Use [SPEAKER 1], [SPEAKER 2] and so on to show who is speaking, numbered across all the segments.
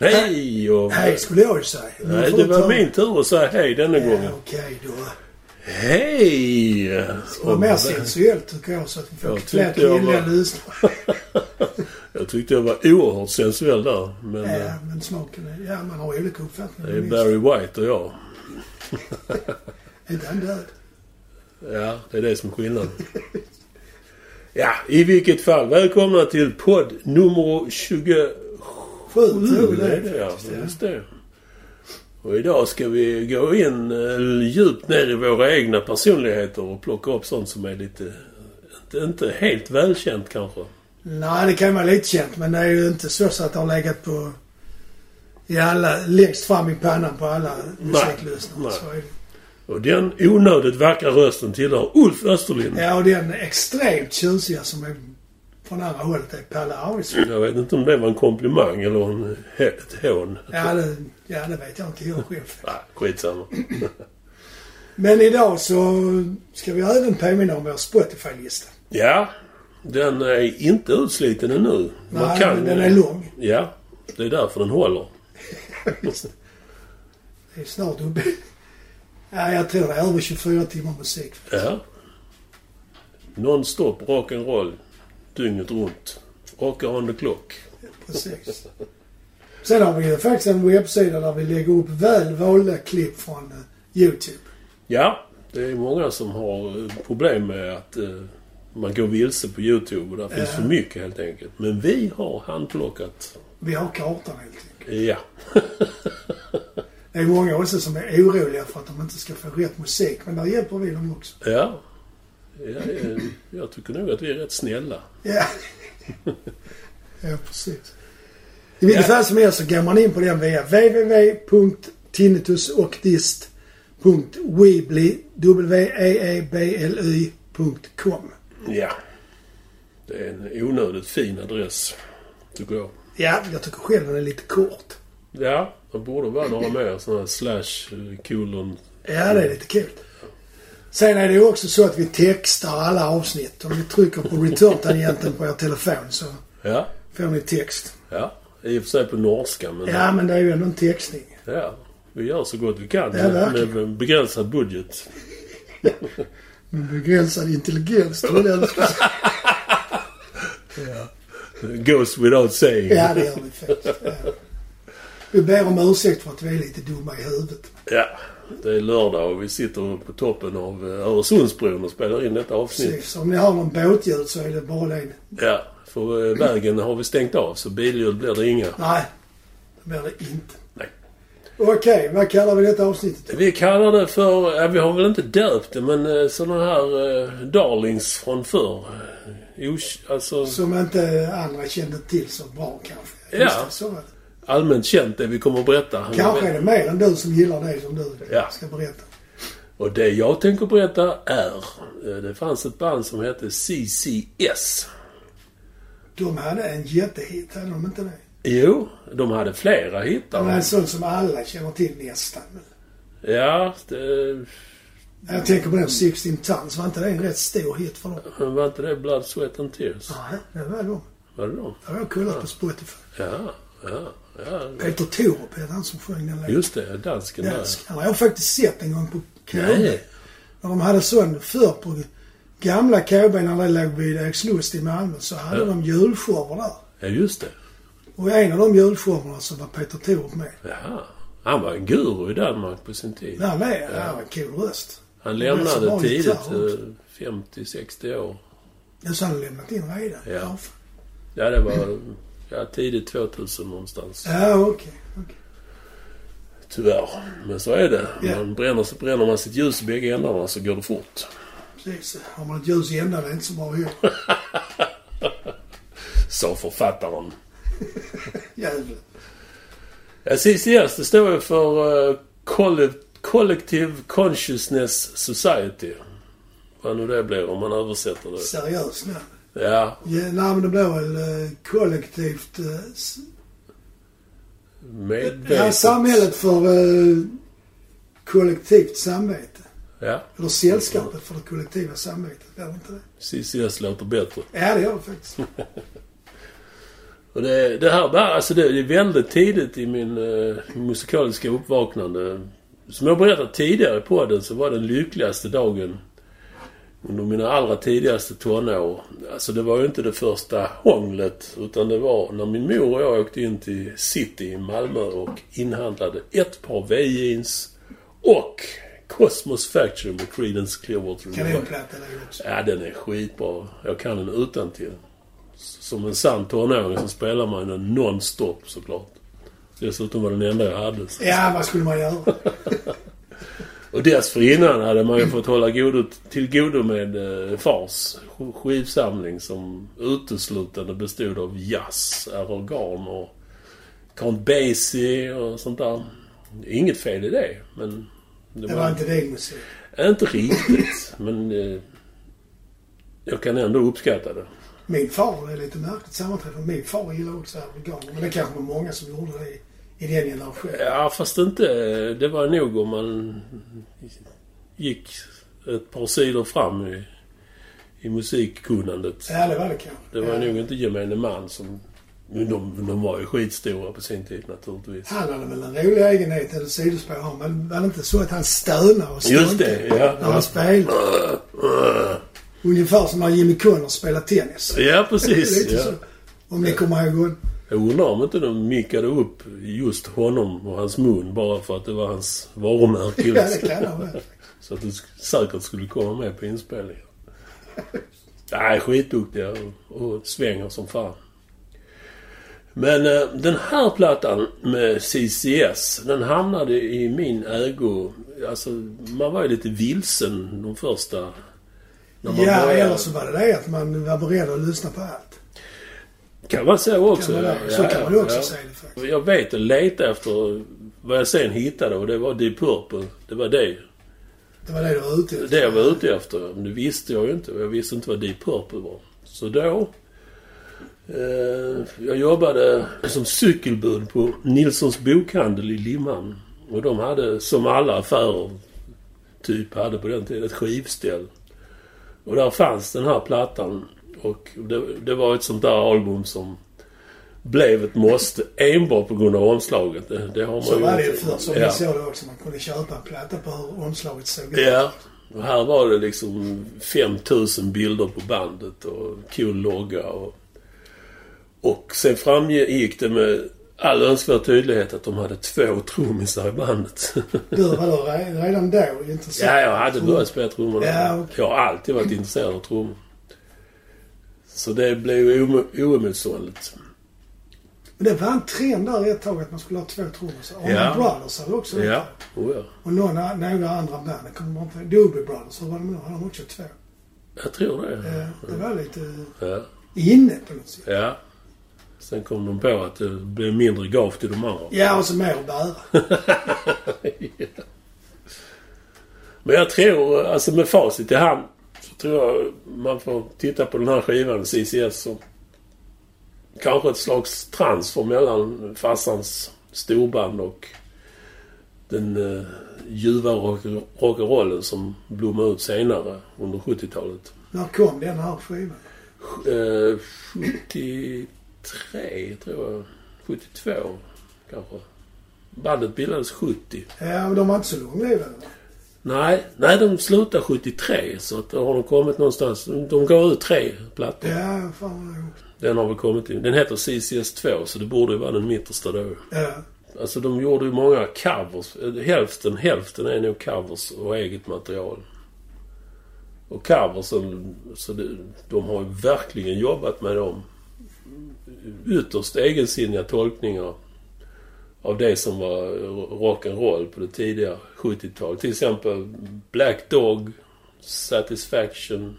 [SPEAKER 1] hej och...
[SPEAKER 2] Hej skulle jag ju säga. Nu
[SPEAKER 1] Nej,
[SPEAKER 2] får
[SPEAKER 1] det
[SPEAKER 2] du
[SPEAKER 1] var
[SPEAKER 2] ta-
[SPEAKER 1] min tur att säga hej denna
[SPEAKER 2] Ja,
[SPEAKER 1] gången.
[SPEAKER 2] Okej då.
[SPEAKER 1] Hej!
[SPEAKER 2] Det var mer sensuellt tycker jag så att vi får
[SPEAKER 1] Jag
[SPEAKER 2] fler
[SPEAKER 1] tyckte jag var-
[SPEAKER 2] kvinnliga lyssnare.
[SPEAKER 1] jag tyckte jag var oerhört sensuell där. Men eh,
[SPEAKER 2] Ja, men smaken är... Ja, man har olika uppfattningar.
[SPEAKER 1] det är
[SPEAKER 2] visst.
[SPEAKER 1] Barry White och jag.
[SPEAKER 2] Inte han död.
[SPEAKER 1] Ja, det är det som är skillnaden. Ja, i vilket fall. Välkomna till podd nummer 27.
[SPEAKER 2] Sju tror
[SPEAKER 1] det
[SPEAKER 2] jag
[SPEAKER 1] är det, ja.
[SPEAKER 2] faktiskt, ja.
[SPEAKER 1] Just det. Och idag ska vi gå in eh, djupt ner i våra egna personligheter och plocka upp sånt som är lite... Inte, inte helt välkänt kanske.
[SPEAKER 2] Nej, det kan vara lite känt men det är ju inte så, så att det har legat på... I alla, längst fram i pannan på alla musiklyssnare.
[SPEAKER 1] nej.
[SPEAKER 2] Så är det.
[SPEAKER 1] Och den onödigt vackra rösten tillhör Ulf Österlind.
[SPEAKER 2] Ja, och den extremt tjusiga som är från andra hållet är Palle Arvidsson.
[SPEAKER 1] Jag vet inte om det var en komplimang eller en, ett hån.
[SPEAKER 2] Ja det, ja, det vet jag inte jag själv.
[SPEAKER 1] Nej, skitsamma.
[SPEAKER 2] Men idag så ska vi även påminna om vår Spotify-lista.
[SPEAKER 1] Ja, den är inte utsliten ännu. Man
[SPEAKER 2] Nej,
[SPEAKER 1] kan-
[SPEAKER 2] men den är lång.
[SPEAKER 1] Ja, det är därför den håller.
[SPEAKER 2] Det är snart uppe. Ja, jag tror det är över 24 timmar musik.
[SPEAKER 1] Ja. Non-stop rock'n'roll. Dygnet runt. Rockar on the clock.
[SPEAKER 2] Precis. Sen har vi ju faktiskt en webbsida där vi lägger upp väl valda klipp från eh, YouTube.
[SPEAKER 1] Ja, det är många som har eh, problem med att eh, man går vilse på YouTube och där finns
[SPEAKER 2] Ja.
[SPEAKER 1] för mycket helt enkelt. Men vi har handplockat.
[SPEAKER 2] Vi har kartan helt enkelt.
[SPEAKER 1] Ja.
[SPEAKER 2] Det är många också som är oroliga för att de inte ska få rätt musik, men där hjälper vi dem också.
[SPEAKER 1] Ja. ja eh, jag tycker nog att vi är rätt snälla.
[SPEAKER 2] Ja. ja, precis. I vilket fall som helst så går man in på den via e www.tinnitusochdist.weebly.com
[SPEAKER 1] Ja. Det är en onödigt fin adress, tycker jag.
[SPEAKER 2] Ja, jag tycker själv den är lite kort.
[SPEAKER 1] Ja, det borde vara några mer sådana här slash eh, kolon.
[SPEAKER 2] Ja, det är lite kul. Sen är det ju också så att vi textar alla avsnitt. Om ni trycker på return-tangenten på er telefon så
[SPEAKER 1] Ja,
[SPEAKER 2] får ni text.
[SPEAKER 1] ja. I och för sig på norska, men ja.
[SPEAKER 2] Ja, men det är ju ändå en textning.
[SPEAKER 1] Vi gör så gott vi kan
[SPEAKER 2] Ja, verkligen.
[SPEAKER 1] med en begränsad budget.
[SPEAKER 2] Med begränsad intelligens, tror jag det jag skulle säga.
[SPEAKER 1] Goes without saying.
[SPEAKER 2] Ja, det gör vi faktiskt. Ja. Vi ber om ursäkt för att vi är lite dumma i huvudet.
[SPEAKER 1] Ja, Det är lördag och vi sitter på toppen av eh, Öresundsbron och spelar in detta avsnitt.
[SPEAKER 2] Precis. Om ni har någon båtljud så är det bara det.
[SPEAKER 1] Ja, för eh, vägen har vi stängt av så billjud blir det inga.
[SPEAKER 2] Nej, det blir det inte.
[SPEAKER 1] Nej.
[SPEAKER 2] Okej, vad kallar vi detta avsnittet?
[SPEAKER 1] Vi kallar det för, ja, vi har väl inte döpt det, men sådana här eh, darlings från förr. Os- alltså
[SPEAKER 2] Som inte andra kände till så bra kanske.
[SPEAKER 1] Ja.
[SPEAKER 2] Just det, så var det.
[SPEAKER 1] allmänt känt det vi kommer att berätta.
[SPEAKER 2] Kanske är det mer än du som gillar det som du
[SPEAKER 1] Ja.
[SPEAKER 2] ska berätta.
[SPEAKER 1] Och det jag tänker berätta är, eh, det fanns ett band som hette CCS.
[SPEAKER 2] De hade en jättehit, hade de inte det?
[SPEAKER 1] Jo, de hade flera hittar.
[SPEAKER 2] De är en sån som alla känner till nästan.
[SPEAKER 1] Ja, det, eh,
[SPEAKER 2] Jag tänker på den 16 Tons, var inte det en rätt stor hit för dem?
[SPEAKER 1] var inte det Blood, Sweat and Tears?
[SPEAKER 2] Nej, det var de.
[SPEAKER 1] Var det de?
[SPEAKER 2] Det har jag kollat på Spotify.
[SPEAKER 1] Ja, ja, ja.
[SPEAKER 2] Peter Torup är det han som sjöng den låten.
[SPEAKER 1] Just det, dansken där.
[SPEAKER 2] Dansk. Han har jag faktiskt sett en gång på KB.
[SPEAKER 1] Nej.
[SPEAKER 2] När de hade sån förr på gamla KB när det låg vid Erikslust i Malmö så hade de julshower där.
[SPEAKER 1] Ja, just det.
[SPEAKER 2] Och i en av de julshowerna så var Peter Torup med.
[SPEAKER 1] Ja. Han var en guru i Danmark på sin tid.
[SPEAKER 2] Han med. Han har en cool röst.
[SPEAKER 1] Han
[SPEAKER 2] Men så var
[SPEAKER 1] lämnade
[SPEAKER 2] han
[SPEAKER 1] tidigt,
[SPEAKER 2] gitarr också.
[SPEAKER 1] eh, 50-60 år.
[SPEAKER 2] Ja, så har han lämnat in redan?
[SPEAKER 1] Ja. Ja, det var ja, tidigt 2000 någonstans.
[SPEAKER 2] Ja, okej. okej.
[SPEAKER 1] Tyvärr. Men så är det.
[SPEAKER 2] Ja.
[SPEAKER 1] Man bränner, så bränner man sitt ljus i bägge ändarna så går det fort.
[SPEAKER 2] Precis. Har man ett ljus i ändan är det inte så bra heller.
[SPEAKER 1] Sa författaren.
[SPEAKER 2] Jävlar.
[SPEAKER 1] Ja, CCS, det står ju för eh, Colle- Collective Consciousness Society. Vad nu det blir om man översätter det.
[SPEAKER 2] Seriöst nu.
[SPEAKER 1] Ja,
[SPEAKER 2] Ja, nej, men det blir väl eh, kollektivt... Eh, s- ja,
[SPEAKER 1] medvetet.
[SPEAKER 2] samhället för eh, kollektivt samvete.
[SPEAKER 1] Ja,
[SPEAKER 2] Eller sällskapet för det kollektiva samvetet. Är det inte det?
[SPEAKER 1] CCS låter bättre.
[SPEAKER 2] Ja, det gör det faktiskt.
[SPEAKER 1] Och det, det här bara, alltså det, det är väldigt tidigt i min eh, musikaliska uppvaknande. Som jag berättat tidigare på den så var den lyckligaste dagen under mina allra tidigaste tonår. Alltså det var ju inte det första hånglet utan det var när min mor och jag åkte in till city i Malmö och inhandlade ett par V-jeans och Cosmos Factory med Creedence Clearwater Revival.
[SPEAKER 2] Kanonplatta där också.
[SPEAKER 1] Ja, den är skitbra. Jag kan den utan till. Som en sann tonåring så spelar man den nonstop såklart. Dessutom var den enda jag hade.
[SPEAKER 2] Ja, vad skulle man göra?
[SPEAKER 1] Och dessförinnan hade man ju fått hålla godo, till godo med eh, fars sk- skivsamling som uteslutande bestod av jazz, organ och Count Basie och sånt där. Inget fel i det, men...
[SPEAKER 2] Det var inte din musik.
[SPEAKER 1] Inte riktigt, men... Eh, jag kan ändå uppskatta det.
[SPEAKER 2] Min far är lite märkligt sammanträffande. Min far gillar också organer. Men det kanske var många som gjorde det i, i den generationen.
[SPEAKER 1] Ja, fast inte... Det var nog om man gick ett par sidor fram i, i musikkunnandet.
[SPEAKER 2] Ja, det var det kanske.
[SPEAKER 1] Det var
[SPEAKER 2] ja.
[SPEAKER 1] nog inte gemene man som... Men de, de var ju skitstora på sin tid naturligtvis.
[SPEAKER 2] Han hade väl en rolig egenhet, eller sidospår har, men var det inte så att han stönade och
[SPEAKER 1] Just
[SPEAKER 2] stönade
[SPEAKER 1] det, ja.
[SPEAKER 2] när han spelade? Ungefär som när Jimmy Connors spelar tennis.
[SPEAKER 1] Ja, precis.
[SPEAKER 2] Lite
[SPEAKER 1] Ja.
[SPEAKER 2] så. Om ni kommer ihåg hon.
[SPEAKER 1] Jag undrar om inte de mickade upp just honom och hans mun bara för att det var hans varumärke. liksom.
[SPEAKER 2] Ja, det kan han väl.
[SPEAKER 1] Så att du sk- säkert skulle komma med på inspelningen. Nej, skitduktiga och- och svänger som fan. Men eh, den här plattan med CCS, den hamnade i min ägo. Alltså, man var ju lite vilsen de första... när man
[SPEAKER 2] Ja,
[SPEAKER 1] började.
[SPEAKER 2] eller så var det det att man var beredd att lyssna på allt.
[SPEAKER 1] Kan man säga också.
[SPEAKER 2] Kan man det? Så
[SPEAKER 1] Ja,
[SPEAKER 2] kan man också
[SPEAKER 1] ja.
[SPEAKER 2] säga det faktiskt.
[SPEAKER 1] Jag vet att leta efter vad jag sen hittade och det var Deep Purple. Det var det.
[SPEAKER 2] Det var det du var ute
[SPEAKER 1] Det jag var ute efter, men det visste jag ju inte. Och jag visste inte vad Deep Purple var. Så då... Eh, jag jobbade som cykelbud på Nilssons bokhandel i Limhamn. Och de hade, som alla affärer typ hade på den tiden, ett skivställ. Och där fanns den här plattan. Och det, det var ett sånt där album som blev ett måste enbart på grund av omslaget. Det, det har man
[SPEAKER 2] Så
[SPEAKER 1] ju
[SPEAKER 2] var det
[SPEAKER 1] inte-
[SPEAKER 2] ju förr. Som
[SPEAKER 1] Ja.
[SPEAKER 2] ni såg det också. Man kunde köpa en platta på hur omslaget såg ut.
[SPEAKER 1] Ja. Och här var det liksom 5000 bilder på bandet och cool logga och... Och sen framgick det med all önskvärd tydlighet att de hade två trummisar i bandet.
[SPEAKER 2] Du var då re- redan då intresserad.
[SPEAKER 1] ja, jag hade börjat spela trummor då.
[SPEAKER 2] Ja, okej.
[SPEAKER 1] Jag har alltid varit intresserad av trummor. Så det blev ju ome- oemotståndligt.
[SPEAKER 2] Men det var en trend där ett tag att man skulle ha två trummisar. Allman
[SPEAKER 1] Ja.
[SPEAKER 2] Brothers hade också det.
[SPEAKER 1] Ja. Oh, ja.
[SPEAKER 2] Och några, några andra band. Jag kommer inte ihåg. Doobie Brothers, hur var det med dem? Hade de också två?
[SPEAKER 1] Jag tror det.
[SPEAKER 2] Eh, Det var lite
[SPEAKER 1] Ja.
[SPEAKER 2] inne på något sätt.
[SPEAKER 1] ja. Sen kom de på att det blev mindre gav till de andra.
[SPEAKER 2] Ja, och så mer att bära.
[SPEAKER 1] Men jag tror, alltså med facit i hand, så tror jag man får titta på den här skivan, CCS, som kanske ett slags transfer mellan farsans storband och den eh, ljuva rock- rock'n'rollen som blommade ut senare under 70-talet.
[SPEAKER 2] När kom den här skivan?
[SPEAKER 1] Eh, 73, tror jag. 72, kanske. Bandet bildades 70.
[SPEAKER 2] Ja, men de var inte så långlivade.
[SPEAKER 1] Nej, nej de slutar 73 så att då har de kommit någonstans. De de gav ut tre plattor.
[SPEAKER 2] Ja, fan vad roligt.
[SPEAKER 1] Den har väl kommit in. Den heter CCS2 så det borde ju vara den mittersta då.
[SPEAKER 2] Ja.
[SPEAKER 1] Alltså de gjorde ju många covers. Eh, Hälften, hälften är nog covers och eget material. Och coversen, så det, de har ju verkligen jobbat med dem. Ytterst egensinniga tolkningar av det som var rock'n'roll på det tidiga 70-talet. Till exempel Black Dog, Satisfaction,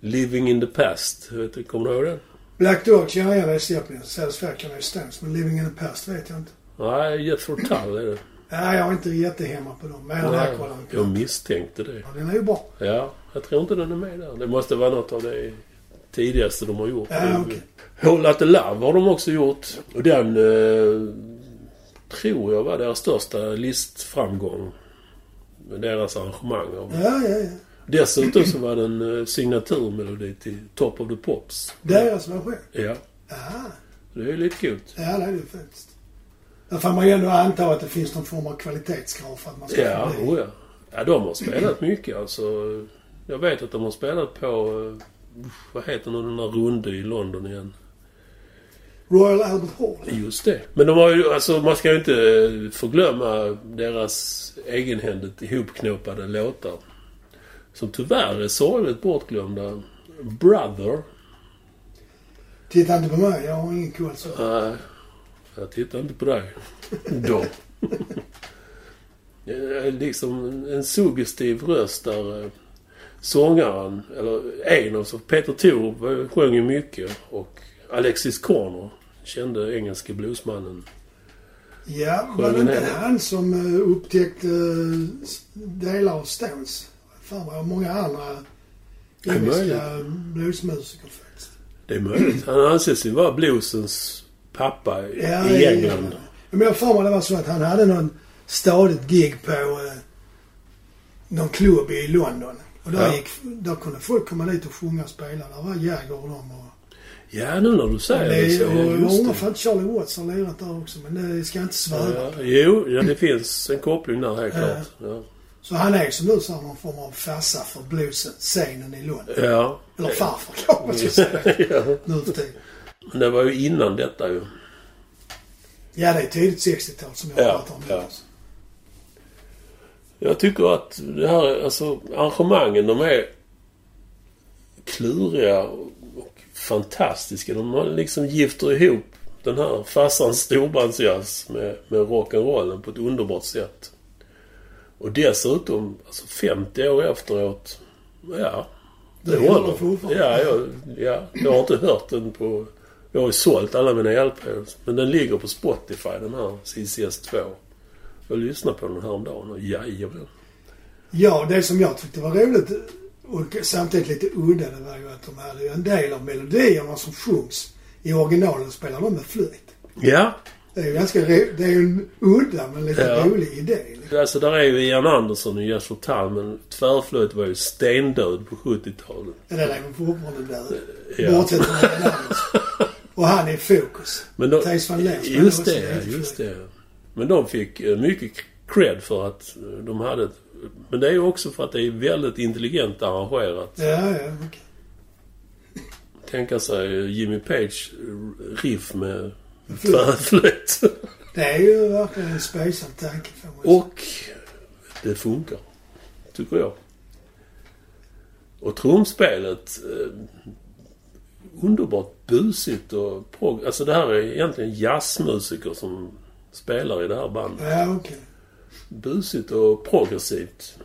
[SPEAKER 1] Living in the Past. Jag vet inte, Kommer du ihåg den?
[SPEAKER 2] Black Dog känner jag igen det i Zeppelin. Satisfaction är Stones. Men Living in the Past vet jag inte.
[SPEAKER 1] Nej, Jethro Tull är det.
[SPEAKER 2] Nej, jag är inte jättehemma på dem. Mer än här kollar jag
[SPEAKER 1] Jag
[SPEAKER 2] på.
[SPEAKER 1] misstänkte det.
[SPEAKER 2] Ja, Den är ju bra.
[SPEAKER 1] Ja, jag tror inte den är med där. Det måste vara något av det tidigaste de har gjort.
[SPEAKER 2] Ja, okej.
[SPEAKER 1] Hole at the Love har de också gjort. Och den eh, tror jag var deras största listframgång. Med deras arrangemang. av-
[SPEAKER 2] Ja, ja, ja.
[SPEAKER 1] Dessutom så var den eh, signaturmelodi till Top of the Pops.
[SPEAKER 2] Deras version.
[SPEAKER 1] Ja.
[SPEAKER 2] Ah,
[SPEAKER 1] Det är ju lite coolt.
[SPEAKER 2] Ja, det är det ju faktiskt. Där får man ju ändå anta att det finns någon form av kvalitetskrav för att man ska
[SPEAKER 1] Ja,
[SPEAKER 2] få bli.
[SPEAKER 1] oh ja. ja, de har spelat mycket alltså. Jag vet att de har spelat på... eh, usch, Vad heter nu den där runda i London igen?
[SPEAKER 2] Royal Albert Hall.
[SPEAKER 1] Just det. Men de har ju, alltså man ska ju inte eh, förglömma deras egenhändigt ihopknåpade låtar. Som tyvärr är sorgligt bortglömda. Brother.
[SPEAKER 2] Titta inte på mig, jag har ingen koll så.
[SPEAKER 1] Nej, jag tittar inte på dig. Då. Det är liksom en suggestiv röst där eh, sångaren, eller en av så Peter Thorup var ju- sjöng ju mycket och Alexis Corner, kände engelske bluesmannen.
[SPEAKER 2] Ja, var
[SPEAKER 1] Sjöng
[SPEAKER 2] det inte
[SPEAKER 1] ner.
[SPEAKER 2] han som eh, upptäckte eh, s- delar av Stones? Fan vad många andra
[SPEAKER 1] Det är
[SPEAKER 2] engelska bluesmusiker faktiskt.
[SPEAKER 1] Det är möjligt. Han anses ju vara bluesens pappa i
[SPEAKER 2] Ja,
[SPEAKER 1] i
[SPEAKER 2] ja,
[SPEAKER 1] England.
[SPEAKER 2] ja. Men jag har för mig det var så att han hade någon stadigt gig på eh, någon klubb i London. Och där,
[SPEAKER 1] Ja.
[SPEAKER 2] gick, där kunde folk komma dit och sjunga och spela. Där var Jagger och dem. Och,
[SPEAKER 1] Ja, nu när du säger det,
[SPEAKER 2] det,
[SPEAKER 1] så...
[SPEAKER 2] och jag
[SPEAKER 1] just det.
[SPEAKER 2] undrar ifall Charlie Watts har lirat där också. Men det ska jag inte svära
[SPEAKER 1] Ja, jo, ja, det finns en koppling där helt
[SPEAKER 2] Ja.
[SPEAKER 1] klart. Ja.
[SPEAKER 2] Så han är som du sa någon form av farsa för bluesen, scenen i London.
[SPEAKER 1] ja.
[SPEAKER 2] Eller farfar kanske man ska säga
[SPEAKER 1] ja.
[SPEAKER 2] nu för tiden.
[SPEAKER 1] Men det var ju innan detta ju.
[SPEAKER 2] Ja, det är tidigt 60-tal som jag
[SPEAKER 1] Ja,
[SPEAKER 2] pratar om. nu.
[SPEAKER 1] ja. Jag tycker att det här, alltså arrangemangen, de är kluriga och och fantastiska. De har liksom gifter ihop den här farsans storbandsjazz med, med rock'n'rollen på ett underbart sätt. Och dessutom, alltså 50 år efteråt, ja.
[SPEAKER 2] Det håller fortfarande.
[SPEAKER 1] Ja, jag, ja, jag har inte hört den på... Jag har ju sålt alla mina LPs. Men den ligger på Spotify, den här CCS 2. Jag lyssnade på den häromdagen och jajamän.
[SPEAKER 2] Ja, det som jag tyckte var roligt och samtidigt lite udda det var ju att de hade ju en del av melodierna som sjungs i originalen spelar de med flöjt.
[SPEAKER 1] Ja,
[SPEAKER 2] Det är ju ganska ro- det är ju en udda men lite
[SPEAKER 1] Ja.
[SPEAKER 2] rolig idé. liksom.
[SPEAKER 1] Alltså där är ju Ian Andersson och Jesper Tamm, men tvärflöjt var ju stendöd på 70-talet.
[SPEAKER 2] Det där är ju fortfarande död.
[SPEAKER 1] Ja.
[SPEAKER 2] Bortsett från den andra. Och han är i fokus.
[SPEAKER 1] Men då,
[SPEAKER 2] Theis van Leer spelade
[SPEAKER 1] just
[SPEAKER 2] också
[SPEAKER 1] det,
[SPEAKER 2] med
[SPEAKER 1] just det. Men de fick eh, mycket cred för att eh, de hade... ett- Men det är ju också för att det är väldigt intelligent arrangerat.
[SPEAKER 2] Ja, ja, okej.
[SPEAKER 1] Tänka sig eh, Jimmy Page eh, riff med tvärflöjt.
[SPEAKER 2] Det är ju verkligen en spejsad tanke får man säga.
[SPEAKER 1] Och det funkar, tycker jag. Och trumspelet... Eh, underbart busigt och prog- Alltså det här är egentligen jazzmusiker som spelar i det här bandet.
[SPEAKER 2] Ja, okej.
[SPEAKER 1] Busigt och progressivt.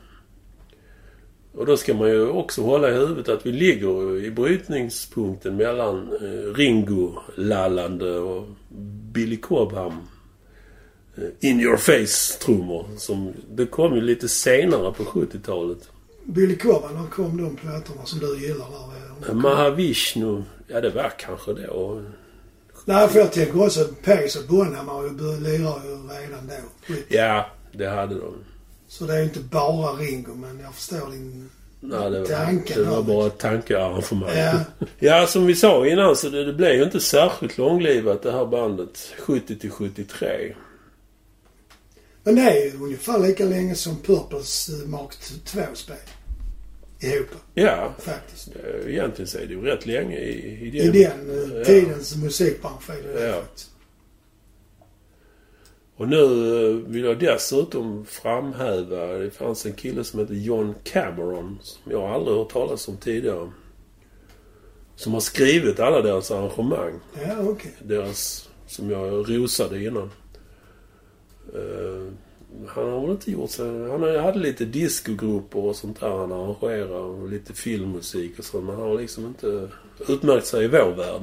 [SPEAKER 1] Och då ska man ju också hålla i huvudet att vi ligger i brytningspunkten mellan eh, Ringo-lallande och Billy Cobham eh, in your face-trummor. Som, det kom ju lite senare på 70-talet.
[SPEAKER 2] Billy Corgan, när kom de plattorna som du gillar där?
[SPEAKER 1] Eh, Mahavishnu, ja det var kanske det. Och,
[SPEAKER 2] Nej, för jag tänker också att Pace och Bonhammar ju bör- lirar ju redan då.
[SPEAKER 1] ja, det hade de.
[SPEAKER 2] Så det är ju inte bara Ringo, men jag förstår din...
[SPEAKER 1] Nej, det var,
[SPEAKER 2] Tanken
[SPEAKER 1] det var
[SPEAKER 2] har vi.
[SPEAKER 1] bara ett tankearrangemang.
[SPEAKER 2] Ja.
[SPEAKER 1] ja, som vi sa innan så det, det blev ju inte särskilt långlivat det här bandet 70 till 73.
[SPEAKER 2] Men det är ju ungefär lika länge som Purples eh, Mark 2-spel. Ihop,
[SPEAKER 1] Ja,
[SPEAKER 2] faktiskt.
[SPEAKER 1] eh, egentligen så är det ju rätt länge i, i den...
[SPEAKER 2] I den eh,
[SPEAKER 1] Ja.
[SPEAKER 2] tidens musikbransch är det
[SPEAKER 1] Ja.
[SPEAKER 2] ja. faktiskt.
[SPEAKER 1] Och nu eh, vill jag dessutom framhäva, det fanns en kille som hette John Cameron som jag aldrig hört talas om tidigare. Som har skrivit alla deras arrangemang.
[SPEAKER 2] Ja, okej.
[SPEAKER 1] deras, som jag rosade innan. Eh, han har väl inte gjort så... Han hade lite discogrupper och sånt där han arrangerar och lite filmmusik och sånt. Men han har liksom inte utmärkt sig i vår värld.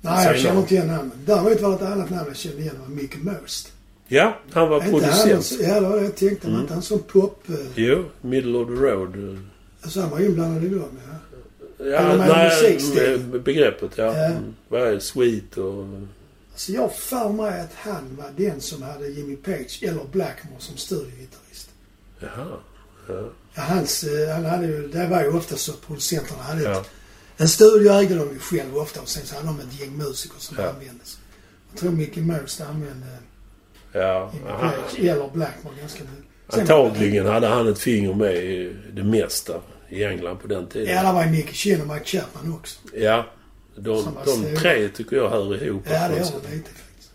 [SPEAKER 2] Nej, jag
[SPEAKER 1] Säg
[SPEAKER 2] känner
[SPEAKER 1] något.
[SPEAKER 2] inte igen namnet. Däremot var det ett annat namn jag kände igen. Det var Mick Most.
[SPEAKER 1] Ja, han var
[SPEAKER 2] Är Inte han,
[SPEAKER 1] producent. Mm.
[SPEAKER 2] ja, det var det jag tänkte. Var inte han som pop... eh,
[SPEAKER 1] Jo, Middle of the Road. eh,
[SPEAKER 2] Alltså han var inblandad i dem, ja.
[SPEAKER 1] Ja,
[SPEAKER 2] men
[SPEAKER 1] nej,
[SPEAKER 2] musikstil.
[SPEAKER 1] eh, begreppet ja.
[SPEAKER 2] Ja.
[SPEAKER 1] Mm, Vad är det? Sweet och...
[SPEAKER 2] Alltså jag har för mig att han var den som hade Jimmy Page eller Blackmore som studiogitarrist.
[SPEAKER 1] Jaha.
[SPEAKER 2] Ja, hans, eh, han hade ju, det var ju ofta så att producenterna hade
[SPEAKER 1] Ja.
[SPEAKER 2] ett, En studio ägde de ju själv ofta och sen så hade de ett gäng musiker som
[SPEAKER 1] Ja.
[SPEAKER 2] användes. Jag tror Mickey Most använde
[SPEAKER 1] Ja, han,
[SPEAKER 2] Black, eller Blackmore ganska mycket. Sen-
[SPEAKER 1] antagligen hade han ett finger med i det mesta i England på den tiden.
[SPEAKER 2] Ja, där var ju Nicky Chin och Mike Chapman också.
[SPEAKER 1] Ja, de,
[SPEAKER 2] Som var
[SPEAKER 1] de
[SPEAKER 2] stora.
[SPEAKER 1] tre tycker jag hör ihop. Alltså. på
[SPEAKER 2] Ja, det
[SPEAKER 1] något
[SPEAKER 2] gör
[SPEAKER 1] sätt.
[SPEAKER 2] de lite faktiskt.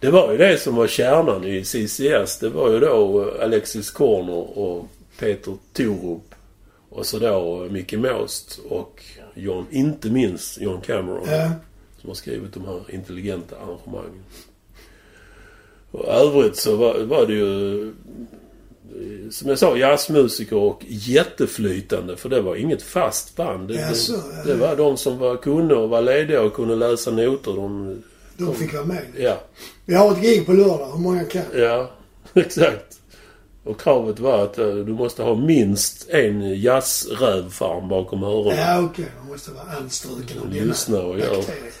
[SPEAKER 1] det var ju det som var kärnan i CCS. Det var ju då Alexis Corner och Peter Torup. Och så då Mickey Most och John, inte minst John Cameron.
[SPEAKER 2] Ja,
[SPEAKER 1] som har skrivit de här intelligenta arrangemangen. Och övrigt så var, var det ju eh, som jag sa, jazzmusiker och jätteflytande för det var inget fast band. Det,
[SPEAKER 2] Jaså, ja.
[SPEAKER 1] det, det var de som var, kunde och var lediga och kunde läsa noter. De,
[SPEAKER 2] de fick vara med.
[SPEAKER 1] ja,
[SPEAKER 2] Vi har ett gig på lördag, hur många kan?
[SPEAKER 1] ja, exakt. Och kravet var att eh, du måste ha minst en jazzrövfarm bakom öronen.
[SPEAKER 2] Ja, okej. Man måste vara anstruken av denna
[SPEAKER 1] Lyssna och gör.
[SPEAKER 2] bakterie.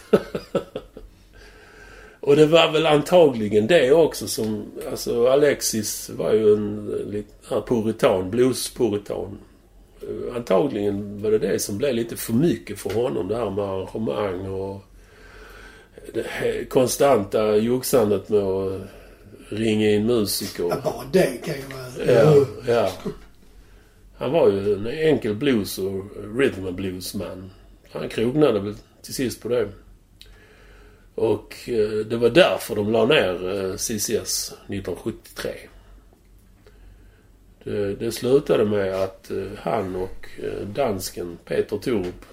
[SPEAKER 1] Och det var väl antagligen det också som... Alltså Alexis var ju en liten puritan, bluespuritan. Eh, Antagligen var det det som blev lite för mycket för honom, det här med arrangemang och det här konstanta joxandet med att ringa in musiker.
[SPEAKER 2] Ja, bara det kan Mm. ju vara...
[SPEAKER 1] Ja, ja. Han var ju en enkel blues och rhythm and bluesman. Han krognade väl till sist på det. Och eh, det var därför de la ner eh, CCS 1973. Det, Eh, det slutade med att eh, han och eh, dansken Peter Thorup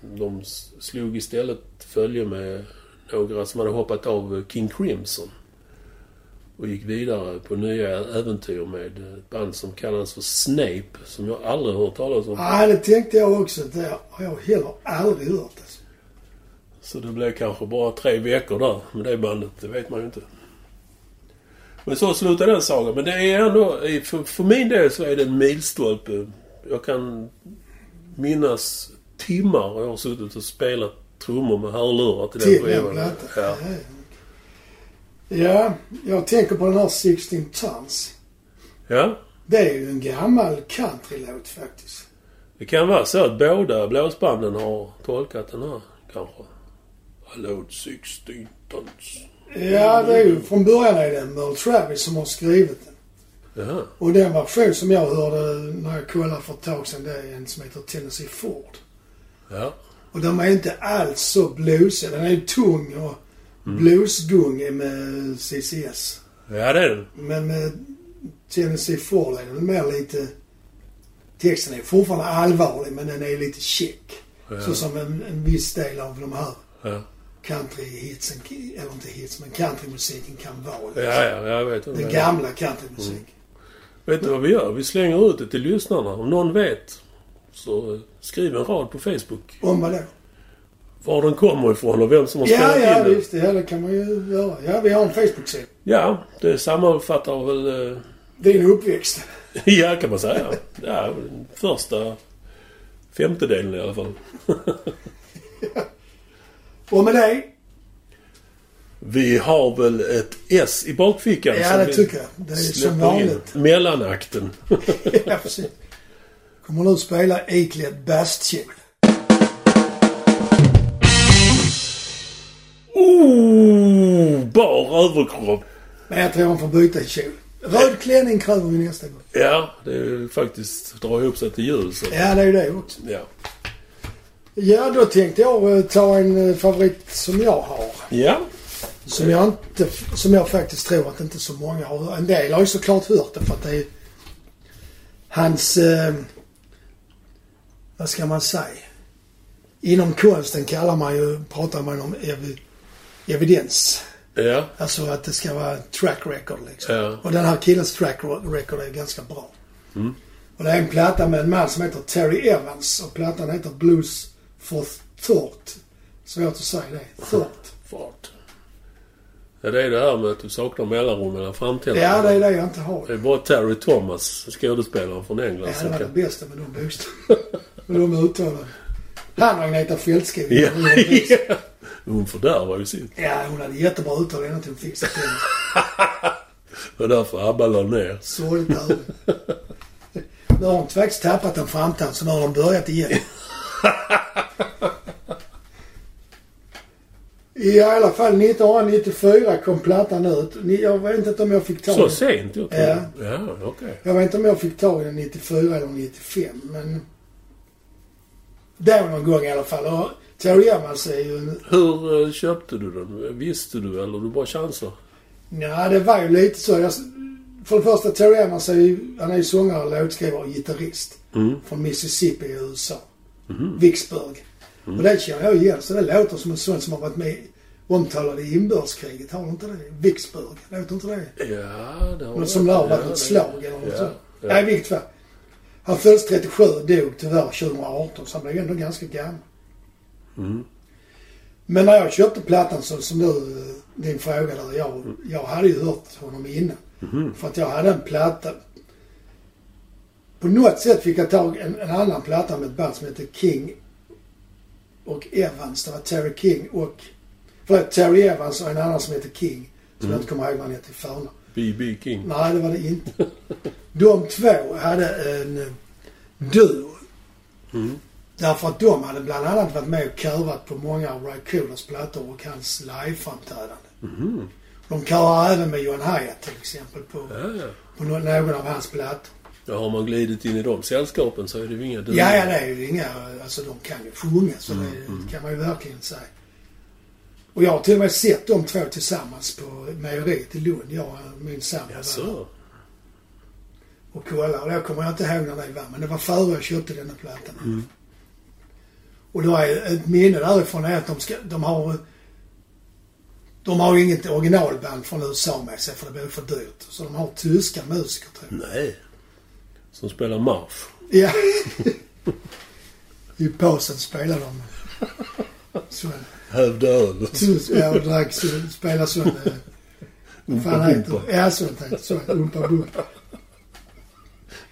[SPEAKER 1] de s- slog istället följe med några som hade hoppat av eh, King Crimson och gick vidare på nya äventyr med ett band som kallades för Snape, som jag aldrig hört talas om.
[SPEAKER 2] Nej, det tänkte jag också. Det har jag heller aldrig hört. Alltså.
[SPEAKER 1] Så det blev kanske bara tre veckor där med det bandet, det vet man ju inte. Men så slutade den sagan. Men det är ändå, i- för, för min del så är det en milstolpe. Jag kan minnas timmar jag har suttit och spelat trummor med hörlurar till den
[SPEAKER 2] Till den
[SPEAKER 1] skivan.
[SPEAKER 2] plattan.
[SPEAKER 1] Ja.
[SPEAKER 2] ja, jag tänker på den här 16 Tons.
[SPEAKER 1] ja,
[SPEAKER 2] Det är ju en gammal countrylåt faktiskt.
[SPEAKER 1] det kan vara så att båda blåsbanden har tolkat den här, kanske. Hello 16 tons.
[SPEAKER 2] Ja, det
[SPEAKER 1] Mm.
[SPEAKER 2] är ju från början är det Merle Travis som har skrivit den.
[SPEAKER 1] Jaha.
[SPEAKER 2] Och den version som jag hörde när jag kollade för ett tag sedan, det är en som heter Tennessee Ford.
[SPEAKER 1] Ja.
[SPEAKER 2] Och de är inte alls så bluesiga. Den är ju tung och
[SPEAKER 1] Mm.
[SPEAKER 2] bluesgungig med CCS.
[SPEAKER 1] ja, det är den.
[SPEAKER 2] Men med Tennessee Ford är den mer lite... Texten är fortfarande allvarlig men den är lite check. Så som en, en viss del av de här
[SPEAKER 1] Ja,
[SPEAKER 2] countryhitsen, eller inte hits, men countrymusiken kan vara.
[SPEAKER 1] ja, ja jag vet. vad det
[SPEAKER 2] Den
[SPEAKER 1] är.
[SPEAKER 2] gamla countrymusiken.
[SPEAKER 1] Vet du vad vi gör? Vi slänger ut det till lyssnarna. Om någon vet, så eh, skriv en rad på Facebook.
[SPEAKER 2] Om vad då?
[SPEAKER 1] Var den kommer ifrån och vem som har
[SPEAKER 2] Ja,
[SPEAKER 1] spelat
[SPEAKER 2] ja
[SPEAKER 1] in den.
[SPEAKER 2] visst. Ja, det kan man ju göra. Ja, vi har en Facebook-sida.
[SPEAKER 1] Ja, det sammanfattar väl... eh,
[SPEAKER 2] Din uppväxt.
[SPEAKER 1] Ja, kan man säga. Ja, den första femtedelen i alla fall.
[SPEAKER 2] Och med det.
[SPEAKER 1] Vi har väl ett S i bakfickan.
[SPEAKER 2] Ja,
[SPEAKER 1] som
[SPEAKER 2] det
[SPEAKER 1] vi
[SPEAKER 2] tycker jag. Det är som
[SPEAKER 1] släpper in.
[SPEAKER 2] vanligt.
[SPEAKER 1] Mellanakten.
[SPEAKER 2] Ja, precis. Kommer nu spela iklädd bastkjol.
[SPEAKER 1] Oh, bar överkropp.
[SPEAKER 2] Men jag tror han får byta kjol. Röd klänning kräver vi nästa gång.
[SPEAKER 1] Ja, det är ju faktiskt dra ihop sig till jul. Så.
[SPEAKER 2] Ja, det är ju det också.
[SPEAKER 1] Ja.
[SPEAKER 2] Ja, då tänkte jag eh, ta en eh, favorit som jag har.
[SPEAKER 1] ja.
[SPEAKER 2] Som jag, inte, som jag faktiskt tror att inte så många har En del har ju såklart hört det för att det är hans... Eh, vad ska man säga? Inom konsten kallar man ju, pratar man om ev, evidens.
[SPEAKER 1] Ja.
[SPEAKER 2] Alltså att det ska vara track record liksom.
[SPEAKER 1] Ja. Mm.
[SPEAKER 2] Och den här killens track record är ganska bra. Och det är en platta med en man som heter Terry Evans och plattan heter Blues for Thought. Svårt att säga det. Thought.
[SPEAKER 1] Fart. Ja, det är det här med att du saknar mellanrum mellan framtänderna.
[SPEAKER 2] Ja, det är det jag inte har.
[SPEAKER 1] Det är bara Terry Thomas, skådespelaren från England,
[SPEAKER 2] Ja, det
[SPEAKER 1] som
[SPEAKER 2] var det
[SPEAKER 1] kan...
[SPEAKER 2] bästa med de bokstäverna. med de uttalen. Han och Agneta Fältskog.
[SPEAKER 1] Ja.
[SPEAKER 2] hon hade fixa-
[SPEAKER 1] ja. Hon fördärvar ju sitt.
[SPEAKER 2] ja, hon hade jättebra uttal ända till hon fixade till
[SPEAKER 1] Det var därför ABBA la ner.
[SPEAKER 2] Sorgligt öde. Nu har de faktiskt tappat en framtand så nu har de börjat igen. I alla fall 1994 kom plattan ut. Ni- Jag vet inte om jag fick tag i
[SPEAKER 1] Så
[SPEAKER 2] den.
[SPEAKER 1] sent? Ja,
[SPEAKER 2] Ja.
[SPEAKER 1] ja okej.
[SPEAKER 2] Jag vet inte om jag fick tag i den 94 eller 95 men... Där någon gång i alla fall. Och Tori Amos är ju en
[SPEAKER 1] Hur eh, köpte du den? Visste du eller du bara chansar?
[SPEAKER 2] Ja, det var ju lite så. Jag, för det första, Terry Emmons är ju, han är ju sångare, låtskrivare och gitarrist.
[SPEAKER 1] Mm.
[SPEAKER 2] Från Mississippi i USA. Vicksburg. Och det känner jag igen, så det låter som en sån som har varit med omtalad i inbördeskriget. Har du inte det? Vicksburg, låter inte det?
[SPEAKER 1] Ja, det har
[SPEAKER 2] Men som lär ha varit
[SPEAKER 1] Ja,
[SPEAKER 2] ett
[SPEAKER 1] det-
[SPEAKER 2] slag eller något
[SPEAKER 1] ja,
[SPEAKER 2] sånt.
[SPEAKER 1] ja.
[SPEAKER 2] Nej, i vilket fall. Han föddes 37 dog tyvärr 2018, så han blev ju ändå ganska gammal.
[SPEAKER 1] Mm.
[SPEAKER 2] Men när jag köpte plattan så, som du, eh, din fråga där, jag, jag hade ju hört honom innan.
[SPEAKER 1] Mm-hmm.
[SPEAKER 2] För att jag hade en platta. På något sätt fick jag tag en, en annan platta med ett band som heter King och Evans. Det var Terry King och... Förlåt, Terry Evans och en annan som heter King.
[SPEAKER 1] Mm.
[SPEAKER 2] Som jag inte kommer ihåg vad han heter i förnamn.
[SPEAKER 1] BB King.
[SPEAKER 2] Nej, det var det inte. De två hade en eh, duo.
[SPEAKER 1] Mm.
[SPEAKER 2] Därför att de hade bland annat varit med och körat på många av Ray Coolers plattor och hans liveframträdande. De körar även med John Hyatt till exempel på,
[SPEAKER 1] Mm-hmm. Ja, ja.
[SPEAKER 2] på nå- någon av hans plattor.
[SPEAKER 1] Ja, har man glidit in i de sällskapen så är Mm-hmm. det ju inga dummar.
[SPEAKER 2] Ja, ja, det är ju inga... Alltså de kan ju sjunga så det kan man ju verkligen säga. Och jag har till och med sett de två tillsammans på mejeriet i Lund, jag och min sambo. där.
[SPEAKER 1] Jaså?
[SPEAKER 2] och kolla. Och då kommer jag inte ihåg när det var, men det var före jag köpte denna plattan. Och då är ett minne därifrån är att de, ska, de har de har ju inget originalband från USA med sig för det blir för dyrt. Så de har tyska musiker tror jag.
[SPEAKER 1] Nej. Som spelar marsch.
[SPEAKER 2] Ja. I pausen spelar de. Så,
[SPEAKER 1] Hävda öl.
[SPEAKER 2] jag drack, så, spelar så. eh, Vad fan heter det? Ja, sånt här. Så, umpa bumpa.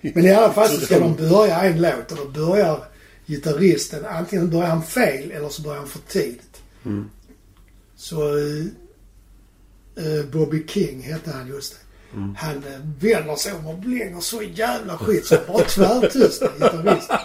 [SPEAKER 2] Men i alla fall så ska de börja en låt och då börjar gitarristen, antingen börjar han fel eller så börjar han för tidigt.
[SPEAKER 1] Mm.
[SPEAKER 2] Så eh, eh, Bobby King hette han just det.
[SPEAKER 1] Mm.
[SPEAKER 2] Han eh, vänder sig om och blänger så jävla skit så han bara tvärtystnar gitarristen.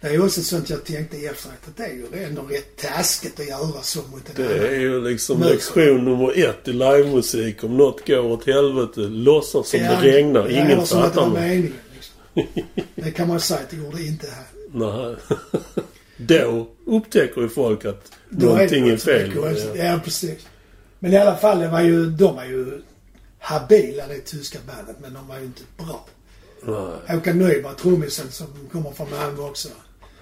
[SPEAKER 2] Det är ju också sånt jag tänkte i efterhand att det är ju ändå rätt taskigt att göra så mot en
[SPEAKER 1] Det
[SPEAKER 2] annan.
[SPEAKER 1] är ju liksom
[SPEAKER 2] Nej.
[SPEAKER 1] lektion nummer ett i livemusik. Om något går åt helvete, låtsas som det regnar.
[SPEAKER 2] ja, eller
[SPEAKER 1] Ingen
[SPEAKER 2] som att det
[SPEAKER 1] fattar
[SPEAKER 2] var
[SPEAKER 1] något.
[SPEAKER 2] meningen. Liksom. Det kan man säga att det gjorde inte här.
[SPEAKER 1] Nej. Då upptäcker ju folk att
[SPEAKER 2] Då
[SPEAKER 1] någonting
[SPEAKER 2] det
[SPEAKER 1] är fel.
[SPEAKER 2] något som är konstigt. Ja, precis. Men i alla fall, det var ju, de var ju habila det tyska bandet, men de var ju inte bra.
[SPEAKER 1] Ja.
[SPEAKER 2] Håkan Nyberg, trummisen som kommer från Malmö också.